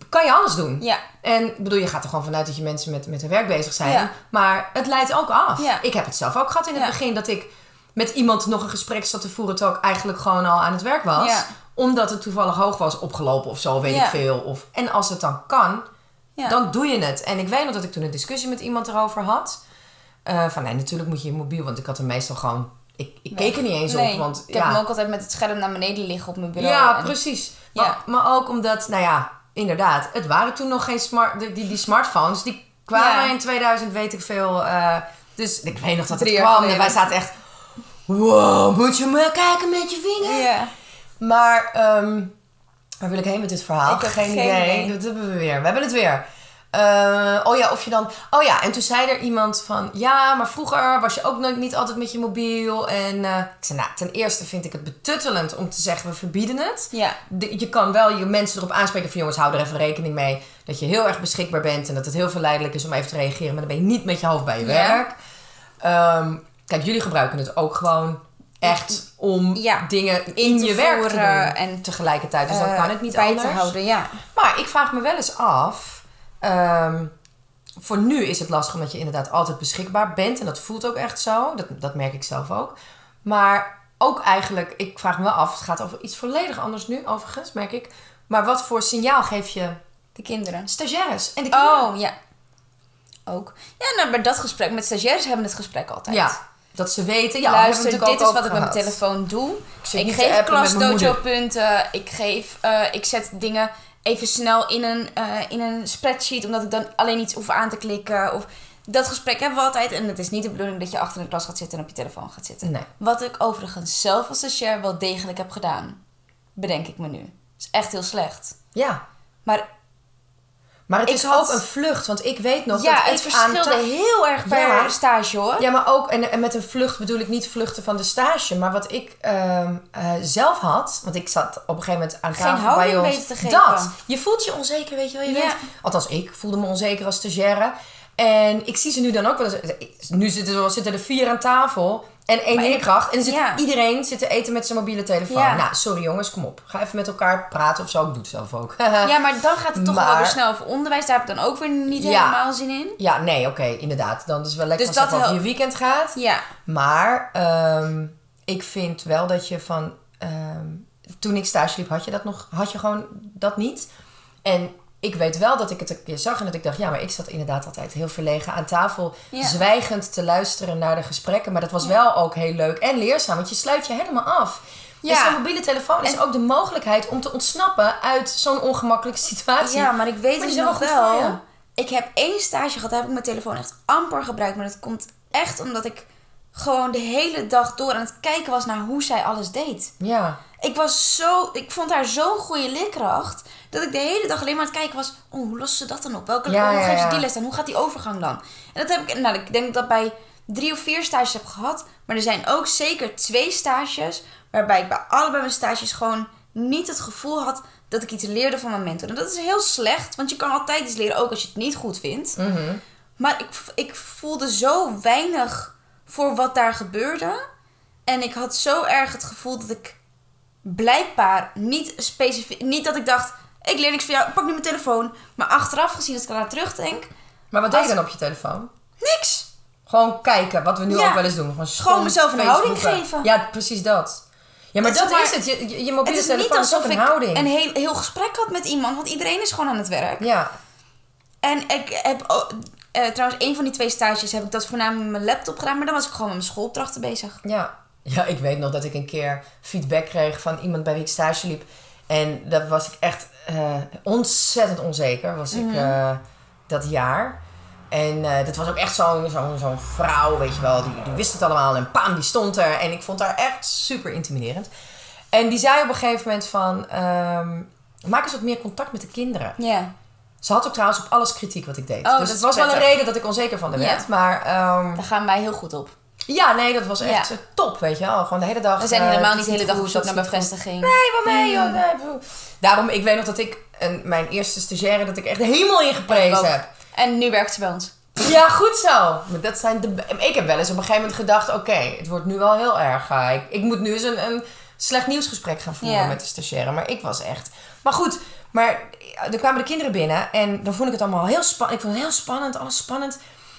S2: kan je alles doen.
S1: Ja.
S2: En ik bedoel, je gaat er gewoon vanuit dat je mensen met, met hun werk bezig zijn.
S1: Ja.
S2: Maar het leidt ook af.
S1: Ja.
S2: Ik heb het zelf ook gehad in het
S1: Ja.
S2: begin dat ik met iemand nog een gesprek zat te voeren terwijl ik eigenlijk gewoon al aan het werk was.
S1: Ja.
S2: Omdat het toevallig hoog was opgelopen of zo, weet
S1: Ja.
S2: ik veel. Of, en als het dan kan,
S1: Ja.
S2: dan doe je het. En ik weet nog dat ik toen een discussie met iemand erover had. Eh, van nee, natuurlijk moet je je mobiel, want ik had hem meestal gewoon... Ik, ik keek er niet eens
S1: Nee,
S2: op, want
S1: ik
S2: ja.
S1: heb hem ook altijd met het scherm naar beneden liggen op mijn bureau.
S2: Ja,
S1: En-
S2: precies.
S1: Ja.
S2: Maar, maar ook omdat, nou ja, inderdaad, het waren toen nog geen smart, die, die, die smartphones. Die kwamen
S1: Ja.
S2: in 2000, weet ik veel. eh, dus ik weet nog dat het
S1: Drie jaar
S2: kwam en
S1: geleden.
S2: wij zaten echt... Wow, moet je me kijken met je vinger?
S1: Ja.
S2: Maar ehm, waar wil ik heen met dit verhaal?
S1: Ik heb geen idee.
S2: Dat hebben we weer. We hebben het weer. Eh, oh ja, of je dan... Oh ja, en toen zei er iemand van... Ja, maar vroeger was je ook nooit, niet altijd met je mobiel. En eh, ik zei, nou, ten eerste vind ik het betuttelend om te zeggen... we verbieden het.
S1: Ja.
S2: De- je kan wel je mensen erop aanspreken van... jongens, hou er even rekening mee dat je heel erg beschikbaar bent... en dat het heel verleidelijk is om even te reageren... maar dan ben je niet met je hoofd bij je
S1: Ja.
S2: werk. Ehm, kijk, jullie gebruiken het ook gewoon echt om
S1: Ja.
S2: dingen in
S1: te
S2: je werk te
S1: voeren
S2: doen
S1: en
S2: tegelijkertijd. Dus dan
S1: Eh,
S2: kan het niet
S1: bij
S2: anders.
S1: te houden, ja.
S2: Maar ik vraag me wel eens af... ehm, voor nu is het lastig omdat je inderdaad altijd beschikbaar bent. En dat voelt ook echt zo. Dat, dat merk ik zelf ook. Maar ook eigenlijk, ik vraag me wel af... Het gaat over iets volledig anders nu, overigens, merk ik. Maar wat voor signaal geef je
S1: De kinderen.
S2: stagiaires en de kinderen?
S1: Oh, ja. Ook. Ja, nou, bij dat gesprek met stagiaires hebben we het gesprek altijd.
S2: Ja, dat ze weten. Ja,
S1: Luister, dit
S2: hebben we
S1: is
S2: natuurlijk ook
S1: wat ik met
S2: over
S1: mijn
S2: gehad.
S1: telefoon doe.
S2: zit
S1: Ik,
S2: niet te
S1: geef
S2: appen met mijn
S1: klasdojo
S2: moeder.
S1: punten. Ik, geef, eh, ik zet dingen even snel in een, eh, in een spreadsheet. Omdat ik dan alleen iets hoef aan te klikken. Of... Dat gesprek hebben we altijd. En het is niet de bedoeling dat je achter een klas gaat zitten en op je telefoon gaat zitten.
S2: Nee.
S1: Wat ik overigens zelf als stagiair wel degelijk heb gedaan. Bedenk ik me nu. is echt heel slecht.
S2: Ja,
S1: Maar
S2: Maar het
S1: Ik
S2: is
S1: had-
S2: ook een vlucht, want ik weet nog
S1: ja,
S2: dat
S1: het
S2: ik aan...
S1: verschilde
S2: ta-
S1: heel erg per
S2: Ja.
S1: stage hoor.
S2: Ja, maar ook, en, en met een vlucht bedoel ik niet vluchten van de stage, maar wat ik ehm, eh, zelf had, want ik zat op een gegeven moment aan
S1: Geen
S2: tafel bij
S1: houding
S2: ons.
S1: weten te geven.
S2: Dat, je voelt je onzeker, weet je wel, je
S1: Ja.
S2: weet. Althans, ik voelde me onzeker als stagiaire. En ik zie ze nu dan ook wel eens, eh, nu zitten, er- zitten er vier aan tafel en één
S1: Maar ik-
S2: leerkracht. En dan zit
S1: ja.
S2: iedereen zit te eten met zijn mobiele telefoon.
S1: Ja.
S2: Nou, sorry jongens, kom op. Ga even met elkaar praten of zo. Ik doe het zelf ook.
S1: Ja, maar dan gaat het toch wel
S2: Maar-
S1: weer snel over onderwijs. Daar heb ik dan ook weer niet
S2: Ja.
S1: helemaal zin in.
S2: Ja, nee, oké, inderdaad. Dan is het wel lekker
S1: Dus
S2: als het
S1: dat
S2: over je
S1: helpt.
S2: weekend gaat.
S1: Ja,
S2: Maar ehm, ik vind wel dat je van... ehm, toen ik stage liep, had je dat nog... Had je gewoon dat niet. En ik weet wel dat ik het een keer zag en dat ik dacht... Ja, maar ik zat inderdaad altijd heel verlegen aan tafel...
S1: Ja.
S2: zwijgend te luisteren naar de gesprekken. Maar dat was wel ook heel leuk en leerzaam. Want je sluit je helemaal af.
S1: Ja.
S2: Dus zo'n mobiele telefoon is ook de mogelijkheid... om te ontsnappen uit zo'n ongemakkelijke situatie.
S1: ja maar ik weet
S2: Maar
S1: het
S2: die
S1: nog
S2: zijn wel goed
S1: wel.
S2: voor je.
S1: Ik heb één stage gehad, daar heb ik mijn telefoon echt amper gebruikt. Maar dat komt echt omdat ik gewoon de hele dag door aan het kijken was naar hoe zij alles deed.
S2: ja.
S1: Ik was zo, ik vond haar zo'n goede leerkracht dat ik de hele dag alleen maar aan het kijken was. Oh, hoe lost ze dat dan op? Welke
S2: Ja,
S1: hoe
S2: ja,
S1: geeft ze
S2: ja.
S1: die les dan? Hoe gaat die overgang dan? En dat heb ik, nou, ik denk dat ik bij drie of vier stages heb gehad, maar er zijn ook zeker twee stages waarbij ik bij allebei mijn stages gewoon niet het gevoel had dat ik iets leerde van mijn mentor. En dat is heel slecht, want je kan altijd iets leren, ook als je het niet goed vindt.
S2: Mhm.
S1: Maar ik, ik voelde zo weinig voor wat daar gebeurde. En ik had zo erg het gevoel dat ik blijkbaar niet specifiek. Niet dat ik dacht, ik leer niks van jou, ik pak nu mijn telefoon. Maar achteraf gezien, als ik eraan terugdenk,
S2: Maar wat deed je
S1: Als-
S2: dan op je telefoon?
S1: niks.
S2: Gewoon kijken, wat we nu
S1: Ja.
S2: ook wel eens doen. Gewoon,
S1: Gewoon mezelf een
S2: stom
S1: houding
S2: Facebooken.
S1: geven.
S2: Ja, precies dat. Ja, maar
S1: Het is
S2: dat
S1: maar-
S2: is het. Je, je, je mobiele
S1: het is
S2: telefoon
S1: niet alsof
S2: is ook
S1: ik
S2: een houding.
S1: een heel, heel gesprek had met iemand, want iedereen is gewoon aan het werk.
S2: Ja,
S1: En ik heb o- eh, trouwens, een van die twee stages heb ik dat voornamelijk met mijn laptop gedaan, maar dan was ik gewoon met mijn schoolopdrachten bezig.
S2: ja. Ja, ik weet nog dat ik een keer feedback kreeg van iemand bij wie ik stage liep. En daar was ik echt eh, ontzettend onzeker, was
S1: Mhm.
S2: ik eh, dat jaar. En eh, dat was ook echt zo'n zo'n zo'n vrouw, weet je wel. Die, die wist het allemaal en paam, die stond er. En ik vond haar echt super intimiderend. En die zei op een gegeven moment van... ehm, maak eens wat meer contact met de kinderen.
S1: Ja.
S2: Ze had ook trouwens op alles kritiek wat ik deed.
S1: Oh,
S2: dus
S1: dat
S2: het
S1: is
S2: was wel een
S1: prettig.
S2: reden dat ik onzeker van de
S1: Ja.
S2: werd. Maar ehm,
S1: Daar gaan wij heel goed op.
S2: ja, nee, dat was echt
S1: Ja.
S2: top, weet je wel. Gewoon de hele dag.
S1: We zijn
S2: eh,
S1: helemaal
S2: dit
S1: niet
S2: is
S1: de hele dag op
S2: goed,
S1: zoek
S2: dat
S1: naar
S2: is niet goed.
S1: bevestiging.
S2: Nee, van mij, joh. Nee, bedoel. Daarom, ik weet nog dat ik een, mijn eerste stagiaire, dat ik echt helemaal ingeprezen
S1: Ik ook.
S2: heb.
S1: En nu werkt ze bij ons.
S2: Ja, goed zo. Maar dat zijn de... Ik heb wel eens op een gegeven moment gedacht... Oké, het wordt nu wel heel erg. eh, Ik, ik moet nu eens een, een slecht nieuwsgesprek gaan voeren
S1: Ja.
S2: met de stagiaire. Maar ik was echt... Maar goed, maar eh, er kwamen de kinderen binnen. En dan vond ik het allemaal heel spannend. Ik vond het heel spannend, alles spannend.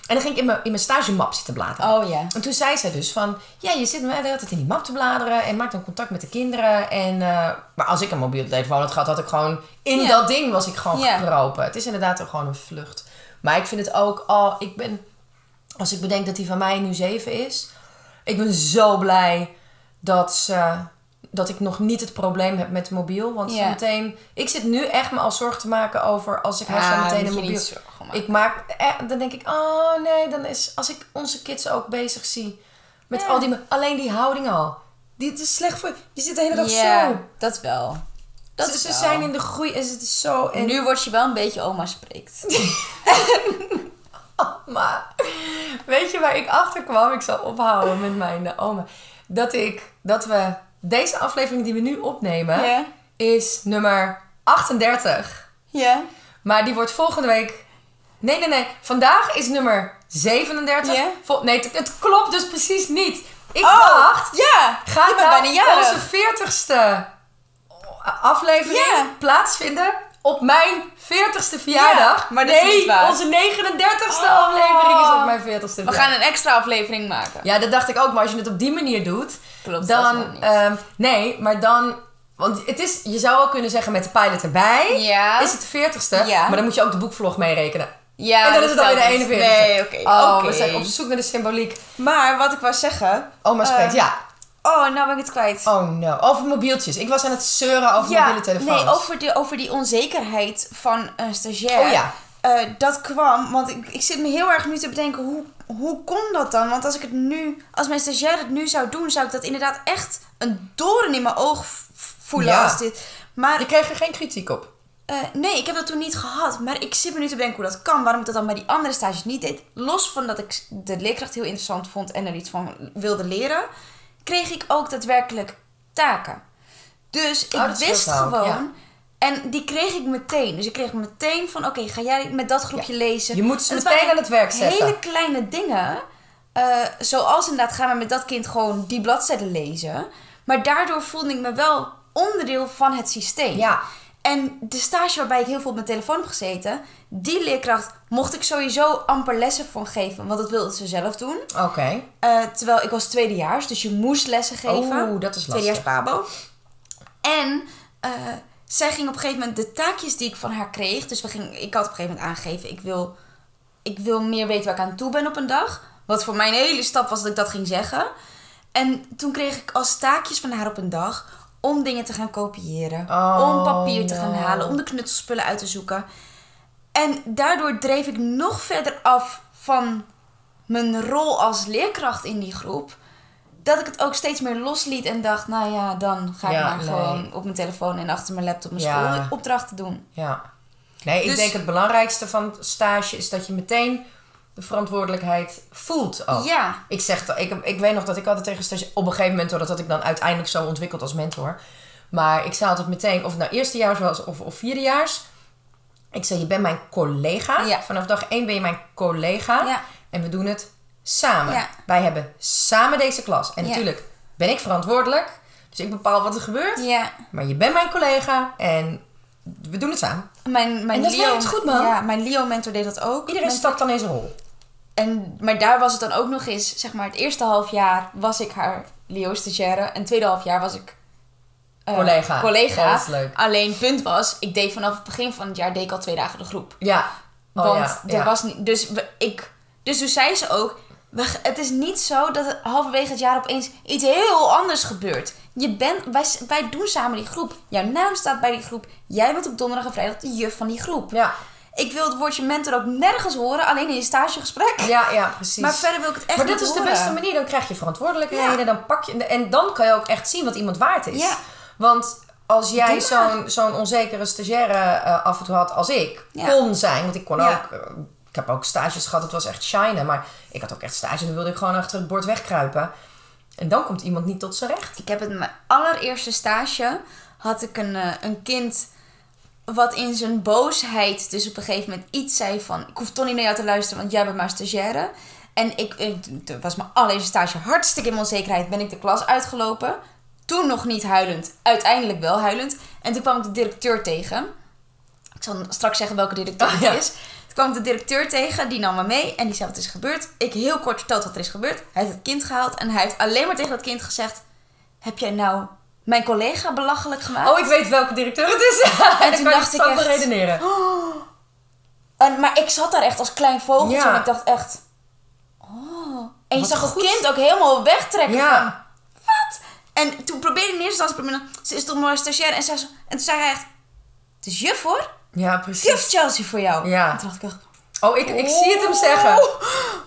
S2: En dan ging ik in mijn, in mijn stagemap zitten bladeren.
S1: Oh ja.
S2: En toen zei zij dus van... Ja, je zit maar de hele tijd in die map te bladeren. En maak dan contact met de kinderen. En, eh, maar als ik een mobiele telefoon had gehad, had ik gewoon... In
S1: Ja.
S2: dat ding was ik gewoon
S1: Ja.
S2: gekropen. Het is inderdaad ook gewoon een vlucht. Maar ik vind het ook al... Ik ben... Als ik bedenk dat die van mij nu zeven is... Ik ben zo blij dat ze... Dat ik nog niet het probleem heb met mobiel. Want
S1: Ja.
S2: zometeen... Ik zit nu echt me al zorgen te maken over... Als ik haar
S1: Ah,
S2: zometeen
S1: moet
S2: een
S1: je
S2: mobiel...
S1: niet zorgen maken.
S2: Ik maak, eh, dan denk ik, oh nee, dan is, als ik onze kids ook bezig zie, met
S1: Ja.
S2: al die, alleen die houding al. Dit is slecht voor, je zit de hele dag zo.
S1: dat wel. Dat
S2: Dat ze,
S1: is
S2: ze
S1: wel.
S2: zijn in de groei en het is zo. En
S1: Nu word je wel een beetje oma spreekt.
S2: Oh, Maar weet je waar ik achter kwam? Ik zal ophouden met mijn eh, oma. Dat ik, dat we, deze aflevering die we nu opnemen,
S1: Ja.
S2: is nummer 38.
S1: Ja.
S2: Maar die wordt volgende week. Nee, nee, nee. Vandaag is nummer 37.
S1: Ja?
S2: Vol- Nee, het, het klopt dus precies niet. Ik dacht,
S1: Oh, ja.
S2: gaat
S1: ik ben
S2: nou
S1: bijna jarig.
S2: onze 40ste aflevering
S1: Ja.
S2: plaatsvinden op mijn 40ste verjaardag?
S1: maar dat
S2: nee,
S1: is niet waar.
S2: onze 39ste
S1: Oh.
S2: aflevering is op mijn 40ste
S1: We gaan een extra aflevering maken.
S2: ja, dat dacht ik ook. Maar als je het op die manier doet,
S1: Klopt, dat is nog
S2: dan...
S1: niet.
S2: ehm, nee, maar dan... Want het is, je zou wel kunnen zeggen met de pilot erbij
S1: Ja.
S2: is het de 40ste.
S1: Ja.
S2: Maar dan moet je ook de boekvlog meerekenen.
S1: Ja,
S2: en dan
S1: dat
S2: is het alweer
S1: telt
S2: de
S1: niet.
S2: 41ste.
S1: Nee, oké.
S2: Oh,
S1: oké.
S2: we zijn op zoek naar de symboliek.
S1: Maar wat ik wou zeggen.
S2: Oma
S1: Eh,
S2: spreekt, ja.
S1: Oh, nou ben ik het kwijt.
S2: Oh no. Over mobieltjes. Ik was aan het zeuren over mobiele telefoons.
S1: Nee, over, de, over die onzekerheid van een stagiair.
S2: Oh ja.
S1: Eh, dat kwam, want ik, ik zit me heel erg nu te bedenken, hoe, hoe kon dat dan? Want als ik het nu, als mijn stagiair het nu zou doen, zou ik dat inderdaad echt een doorn in mijn oog v- voelen
S2: Ja.
S1: als dit. Maar
S2: Je kreeg er geen kritiek op.
S1: eh, nee, ik heb dat toen niet gehad. Maar ik zit me nu te bedenken hoe dat kan. Waarom ik dat dan bij die andere stages niet deed. Los van dat ik de leerkracht heel interessant vond en er iets van wilde leren, kreeg ik ook daadwerkelijk taken. Dus ik
S2: Oh, dat scheelt
S1: wist
S2: wel,
S1: gewoon.
S2: ja.
S1: En die kreeg ik meteen. Dus ik kreeg meteen van: oké, ga jij met dat groepje lezen?
S2: Je moet ze
S1: En het
S2: meteen
S1: waren
S2: aan het werk zetten.
S1: Hele kleine dingen. eh, zoals inderdaad gaan we met dat kind gewoon die bladzijden lezen. Maar daardoor voelde ik me wel onderdeel van het systeem.
S2: Ja.
S1: En de stage waarbij ik heel veel op mijn telefoon heb gezeten, die leerkracht mocht ik sowieso amper lessen van geven, want dat wilde ze zelf doen.
S2: Oké.
S1: Eh, terwijl ik was tweedejaars, dus je moest lessen geven.
S2: Oeh, dat is
S1: Tweedejaars
S2: lastig.
S1: Pabo. En eh, zij ging op een gegeven moment de taakjes die ik van haar kreeg, dus we gingen, ik had op een gegeven moment aangegeven, ik wil, ik wil meer weten waar ik aan toe ben op een dag. Wat voor mij een hele stap was dat ik dat ging zeggen. En toen kreeg ik als taakjes van haar op een dag om dingen te gaan kopiëren,
S2: Oh,
S1: om papier te gaan
S2: no.
S1: halen, om de knutselspullen uit te zoeken. En daardoor dreef ik nog verder af van mijn rol als leerkracht in die groep. Dat ik het ook steeds meer losliet en dacht, nou ja, dan ga ik
S2: Ja,
S1: maar
S2: nee.
S1: gewoon op mijn telefoon en achter mijn laptop mijn
S2: Ja.
S1: school opdrachten doen.
S2: Ja. Nee, ik
S1: Dus-
S2: denk het belangrijkste van stage is dat je meteen de verantwoordelijkheid voelt ook.
S1: Ja.
S2: Ik, zeg, dat- ik, ik weet nog dat ik altijd tegen stage... Op een gegeven moment, hoor, dat had ik dan uiteindelijk zo ontwikkeld als mentor. Maar ik zei altijd meteen, of het nou eerstejaars was of, of vierdejaars... Ik zei, je bent mijn collega.
S1: Ja.
S2: Vanaf dag één ben je mijn collega.
S1: Ja.
S2: En we doen het samen.
S1: Ja.
S2: Wij hebben samen deze klas. En
S1: Ja.
S2: natuurlijk ben ik verantwoordelijk. Dus ik bepaal wat er gebeurt.
S1: Ja,
S2: Maar je bent mijn collega en we doen het samen.
S1: mijn, mijn
S2: En dat
S1: Leo,
S2: werkt goed, man.
S1: Ja, mijn Leo-mentor deed dat ook.
S2: Iedereen
S1: Mijn-
S2: stapt dan in zijn rol.
S1: En, maar daar was het dan ook nog eens, zeg maar, het eerste half jaar was ik haar Leo-stagiaire. En het tweede half jaar was ik eh,
S2: Collega.
S1: collega.
S2: Oh, dat is leuk.
S1: Alleen punt was, ik deed vanaf het begin van het jaar deed ik al twee dagen de groep.
S2: Ja. Oh,
S1: Want er
S2: ja, ja.
S1: was niet. Dus, we- ik, dus toen zei ze ook. we g- het is niet zo dat er halverwege het jaar opeens iets heel anders gebeurt. Je bent, wij, s- wij doen samen die groep. Jouw naam staat bij die groep. Jij bent op donderdag en vrijdag de juf van die groep.
S2: Ja,
S1: Ik wil het woordje mentor ook nergens horen, alleen in je stagegesprek.
S2: ja, ja, precies.
S1: Maar verder wil ik het echt
S2: Maar dit
S1: niet
S2: is de
S1: horen.
S2: beste manier. Dan krijg je verantwoordelijkheden.
S1: Ja.
S2: Dan pak je, en dan kan je ook echt zien wat iemand waard is.
S1: Ja.
S2: Want als jij
S1: Doe maar.
S2: zo'n zo'n onzekere stagiaire eh, af en toe had als ik,
S1: Ja.
S2: kon zijn. Want ik kon
S1: Ja.
S2: ook... eh, ik heb ook stages gehad. Het was echt shine. Maar ik had ook echt stages. Dan wilde ik gewoon achter het bord wegkruipen. En dan komt iemand niet tot zijn recht.
S1: Ik heb het mijn allereerste stage had ik een, eh, een kind wat in zijn boosheid dus op een gegeven moment iets zei van... Ik hoef toch niet naar jou te luisteren, want jij bent maar stagiaire. En ik, ik toen was mijn allereerste stage hartstikke in mijn onzekerheid. Ben ik de klas uitgelopen. Toen nog niet huilend. Uiteindelijk wel huilend. En toen kwam ik de directeur tegen. Ik zal straks zeggen welke directeur het
S2: ja.
S1: is. Toen kwam ik de directeur tegen. Die nam me mee. En die zei wat er is gebeurd. Ik heel kort verteld wat er is gebeurd. Hij heeft het kind gehaald. En hij heeft alleen maar tegen dat kind gezegd... Heb jij nou mijn collega belachelijk gemaakt?
S2: Oh, ik weet welke directeur het is.
S1: En
S2: Ik
S1: toen
S2: kan
S1: dacht
S2: het
S1: ik
S2: zo
S1: echt-
S2: beredeneren.
S1: En, maar ik zat daar echt als klein vogeltje
S2: Ja.
S1: en ik dacht echt... Oh. En je
S2: Wat
S1: zag
S2: goed.
S1: het kind ook helemaal wegtrekken. van,
S2: Ja.
S1: Wat? En toen probeerde ik in eerste instantie... te proberen, Ze is toch maar stagiair? En, zei ze, en toen zei hij echt... Het is juf hoor.
S2: Ja, precies.
S1: Juf Chelsea voor jou.
S2: Ja.
S1: En toen dacht ik echt... "Oh."
S2: Oh, ik, ik zie het hem zeggen.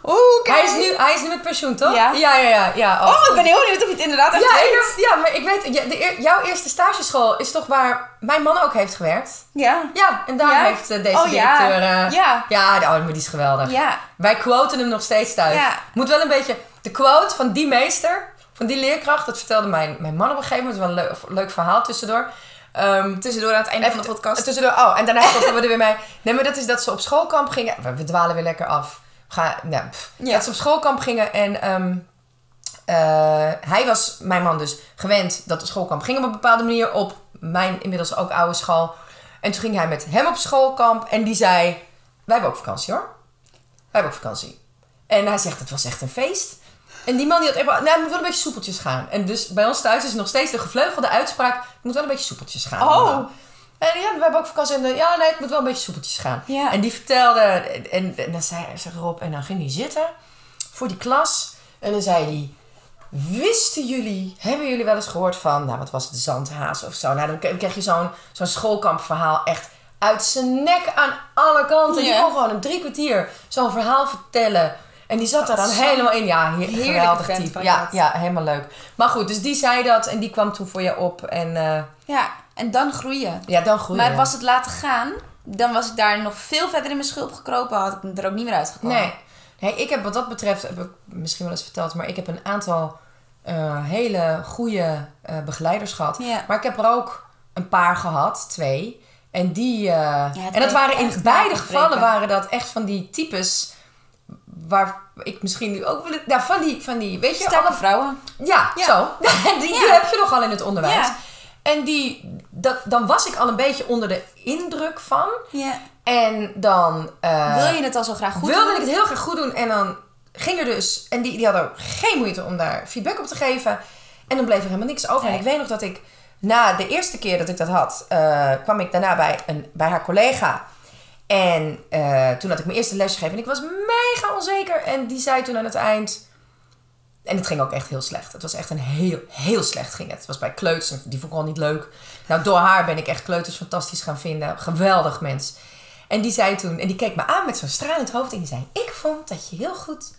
S1: Oeh, kijk.
S2: Hij is, nu, hij is nu met pensioen, toch?
S1: Ja.
S2: Ja, ja, ja. ja oh.
S1: Oh, ik ben heel benieuwd of je het inderdaad echt
S2: ja,
S1: weet.
S2: ik- ja, maar ik weet, ja, de eer- jouw eerste stageschool is toch waar mijn man ook heeft gewerkt?
S1: Ja.
S2: Ja, en daar
S1: Ja?
S2: heeft eh, deze
S1: Oh, ja.
S2: directeur... eh,
S1: Ja.
S2: Ja, de- oh, maar die is geweldig.
S1: Ja.
S2: Wij quoten hem nog steeds thuis.
S1: Ja.
S2: Moet wel een beetje... De quote van die meester, van die leerkracht, dat vertelde mijn, mijn man op een gegeven moment. Dat is wel een leuk, leuk verhaal tussendoor. Ehm,
S1: Tussendoor aan het einde van de podcast.
S2: Tussendoor, oh, en daarna stoppen we er weer mee. Nee, maar dat is dat ze op schoolkamp gingen. We, we dwalen weer lekker af. Ga, nou, pff.
S1: Ja.
S2: Dat ze op schoolkamp gingen en ehm, eh, hij was, mijn man dus, gewend dat de schoolkamp ging op een bepaalde manier op mijn inmiddels ook oude school. En toen ging hij met hem op schoolkamp en die zei, wij hebben ook vakantie hoor. Wij hebben ook vakantie. En hij zegt, het was echt een feest. En die man die had even, nou, het moet wel een beetje soepeltjes gaan. En dus bij ons thuis is nog steeds de gevleugelde uitspraak, het moet wel een beetje soepeltjes gaan.
S1: Oh.
S2: allemaal. En ja, we hebben ook vakantie. En eh, ja, nee, het moet wel een beetje soepeltjes gaan.
S1: Ja.
S2: En die vertelde, en, en, en dan zei ze erop, en dan ging hij zitten voor die klas. En dan zei hij, wisten jullie, hebben jullie wel eens gehoord van, nou wat was het, zandhaas of zo. Nou, dan k- kreeg je zo'n zo'n schoolkampverhaal echt uit zijn nek aan alle kanten.
S1: Ja.
S2: Je kon gewoon een drie kwartier zo'n verhaal vertellen. En die zat daar dan
S1: is zo'n
S2: helemaal in. Ja, he-
S1: heerlijke
S2: geweldig
S1: vent
S2: type.
S1: was
S2: Ja,
S1: dat.
S2: ja, helemaal leuk. Maar goed, dus die zei dat en die kwam toen voor je op. En eh,
S1: Ja. En dan groeien.
S2: ja, dan groeide
S1: Maar was het laten gaan, dan was ik daar nog veel verder in mijn schulp gekropen. Had ik me er ook niet meer uitgekomen.
S2: Nee. nee, ik heb wat dat betreft, heb ik misschien wel eens verteld, maar ik heb een aantal eh, hele goede eh, begeleiders gehad.
S1: Ja.
S2: Maar ik heb er ook een paar gehad, twee. En die. eh, en dat
S1: heeft
S2: waren in
S1: echt
S2: beide
S1: nagebreken.
S2: gevallen waren dat echt van die types. Waar ik misschien nu ook wil. Ja, van die, van die. Weet je,
S1: Sterke
S2: alle-
S1: vrouwen.
S2: ja,
S1: Ja.
S2: zo. Die, die
S1: Ja.
S2: heb je nogal in het onderwijs.
S1: Ja.
S2: En die, dat, dan was ik al een beetje onder de indruk van.
S1: Ja.
S2: En dan. eh,
S1: Wil je het al zo graag goed
S2: wilde
S1: doen?
S2: ik het heel graag goed doen. En dan ging er dus... En die, die hadden ook geen moeite om daar feedback op te geven. En dan bleef er helemaal niks over. En
S1: Nee.
S2: ik weet nog dat ik na de eerste keer dat ik dat had... eh, kwam ik daarna bij, een, bij haar collega. En eh, toen had ik mijn eerste les gegeven. En ik was mega onzeker. En die zei toen aan het eind... En het ging ook echt heel slecht. Het was echt een heel, heel slecht ging het. Het was bij Kleuts en die vond ik al niet leuk. Nou, door haar ben ik echt Kleuters fantastisch gaan vinden. Geweldig mens. En die zei toen, en die keek me aan met zo'n stralend hoofd. En die zei, ik vond dat je heel goed...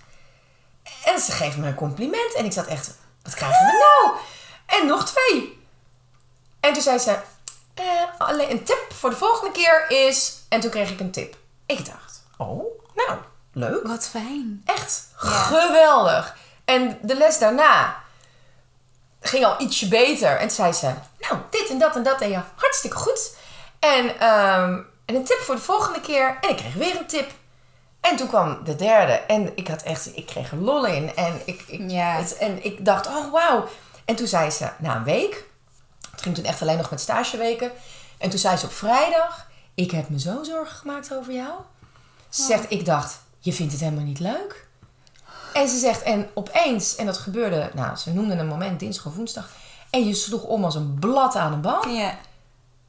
S2: En ze geeft me een compliment. En ik zat echt, wat krijgen we nou? En nog twee. En toen zei ze, "Eh, alleen een tip voor de volgende keer is... En toen kreeg ik een tip. Ik dacht, oh, nou, leuk.
S1: Wat fijn.
S2: Echt geweldig. En de les daarna ging al ietsje beter. En zei ze, nou, dit en dat en dat en je hartstikke goed. En, ehm, en een tip voor de volgende keer. En ik kreeg weer een tip. En toen kwam de derde. En ik had echt, ik kreeg er lol in. En ik, ik,
S1: Ja.
S2: het- en ik dacht, oh wauw. En toen zei ze, na een week, het ging toen echt alleen nog met stageweken. En toen zei ze op vrijdag, ik heb me zo zorgen gemaakt over jou. Ze zegt, ik dacht, je vindt het helemaal niet leuk. En ze zegt, en opeens, en dat gebeurde, nou, ze noemde een moment, dinsdag of woensdag. En je sloeg om als een blad aan een boom.
S1: Ja.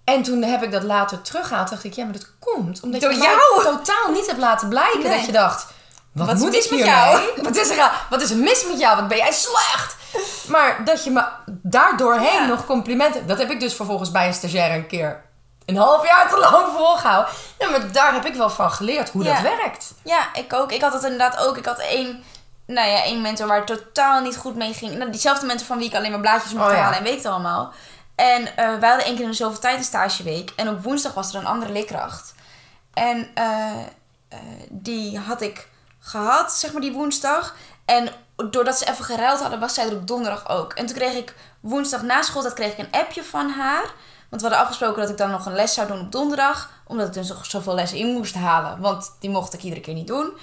S2: En toen heb ik dat later teruggehaald. dacht ik, ja, maar dat komt omdat
S1: Door
S2: je mij
S1: jou?
S2: totaal niet hebt laten blijken
S1: Nee.
S2: dat je dacht... Wat,
S1: Wat is
S2: moet
S1: mis
S2: ik
S1: met
S2: hiermee?
S1: jou?
S2: Wat is, er, aan- wat is er mis met jou? Wat ben jij slecht? Maar dat je me daardoorheen
S1: Ja.
S2: nog complimenten... Dat heb ik dus vervolgens bij een stagiair een keer een half jaar te lang volgehouden. Ja, maar daar heb ik wel van geleerd hoe
S1: Ja.
S2: dat werkt.
S1: Ja, ik ook. Ik had het inderdaad ook. Ik had één, nou ja, één mentor waar het totaal niet goed mee ging. Nou, diezelfde mentor van wie ik alleen maar blaadjes mocht
S2: Oh ja.
S1: halen en weet het allemaal. En eh, wij hadden één keer in de zoveel tijd een stageweek. En op woensdag was er een andere leerkracht. En eh, eh, die had ik gehad, zeg maar, die woensdag. En doordat ze even geruild hadden, was zij er op donderdag ook. En toen kreeg ik woensdag na schooltijd kreeg ik een appje van haar. Want we hadden afgesproken dat ik dan nog een les zou doen op donderdag. Omdat ik dus nog zoveel lessen in moest halen. Want die mocht ik iedere keer niet doen.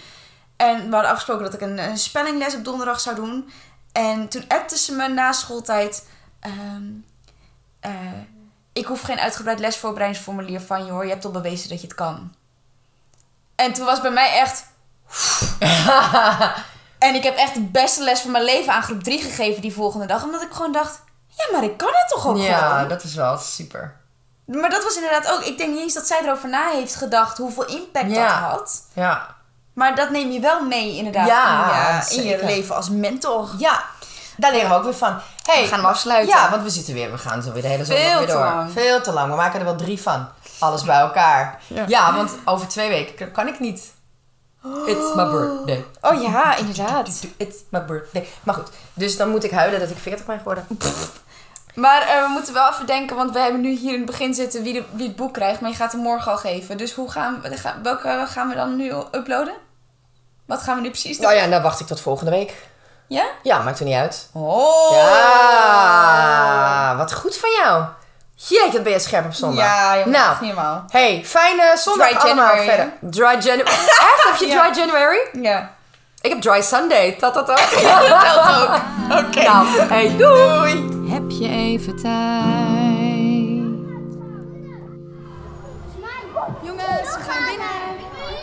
S1: En we hadden afgesproken dat ik een, een spellingles op donderdag zou doen. En toen appte ze me na schooltijd. ehm, eh, ik hoef geen uitgebreid lesvoorbereidingsformulier van je hoor. Je hebt al bewezen dat je het kan. En toen was bij mij echt... En ik heb echt de beste les van mijn leven aan groep 3 gegeven die volgende dag. Omdat ik gewoon dacht, ja, maar ik kan het toch ook
S2: ja,
S1: gewoon?
S2: dat is wel super.
S1: Maar dat was inderdaad ook... Ik denk niet eens dat zij erover na heeft gedacht hoeveel impact
S2: Ja.
S1: dat had.
S2: Ja.
S1: Maar dat neem je wel mee inderdaad
S2: Ja,
S1: in, je, in je
S2: zeker.
S1: leven als mentor.
S2: Ja, daar leren we ook weer van. Hey,
S1: We gaan hem afsluiten.
S2: Ja, want we zitten weer, we gaan zo weer de hele zondag
S1: Veel
S2: weer
S1: te
S2: door.
S1: lang.
S2: Veel te lang, we maken er wel drie van. Alles bij elkaar. Ja, want over twee weken kan ik niet. It's my birthday.
S1: Oh ja, inderdaad.
S2: It's my birthday. Maar goed, dus dan moet ik huilen dat ik 40 ben geworden.
S1: Maar eh, we moeten wel even denken, want we hebben nu hier in het begin zitten wie, de, wie het boek krijgt. Maar je gaat hem morgen al geven. Dus hoe gaan we, ga- welke gaan we dan nu uploaden? Wat gaan we nu precies doen?
S2: Nou ja, en dan wacht ik tot volgende week.
S1: Ja?
S2: Ja, maakt er niet uit.
S1: Oh!
S2: Ja, wat goed van jou. Jeetje, dat ben je scherp op zondag.
S1: Ja, jongen,
S2: Nou,
S1: echt niet normaal.
S2: hey, fijne zondag
S1: Dry
S2: allemaal
S1: January, hè?
S2: verder. Dry January. Echt, heb je
S1: Ja.
S2: Dry January?
S1: Ja.
S2: Ik heb Dry Sunday. Dat, dat, dat.
S1: Dat telt ook. Oké.
S2: Nou, hey, doei.
S3: Heb je even tijd?
S4: Jongens, we gaan binnen.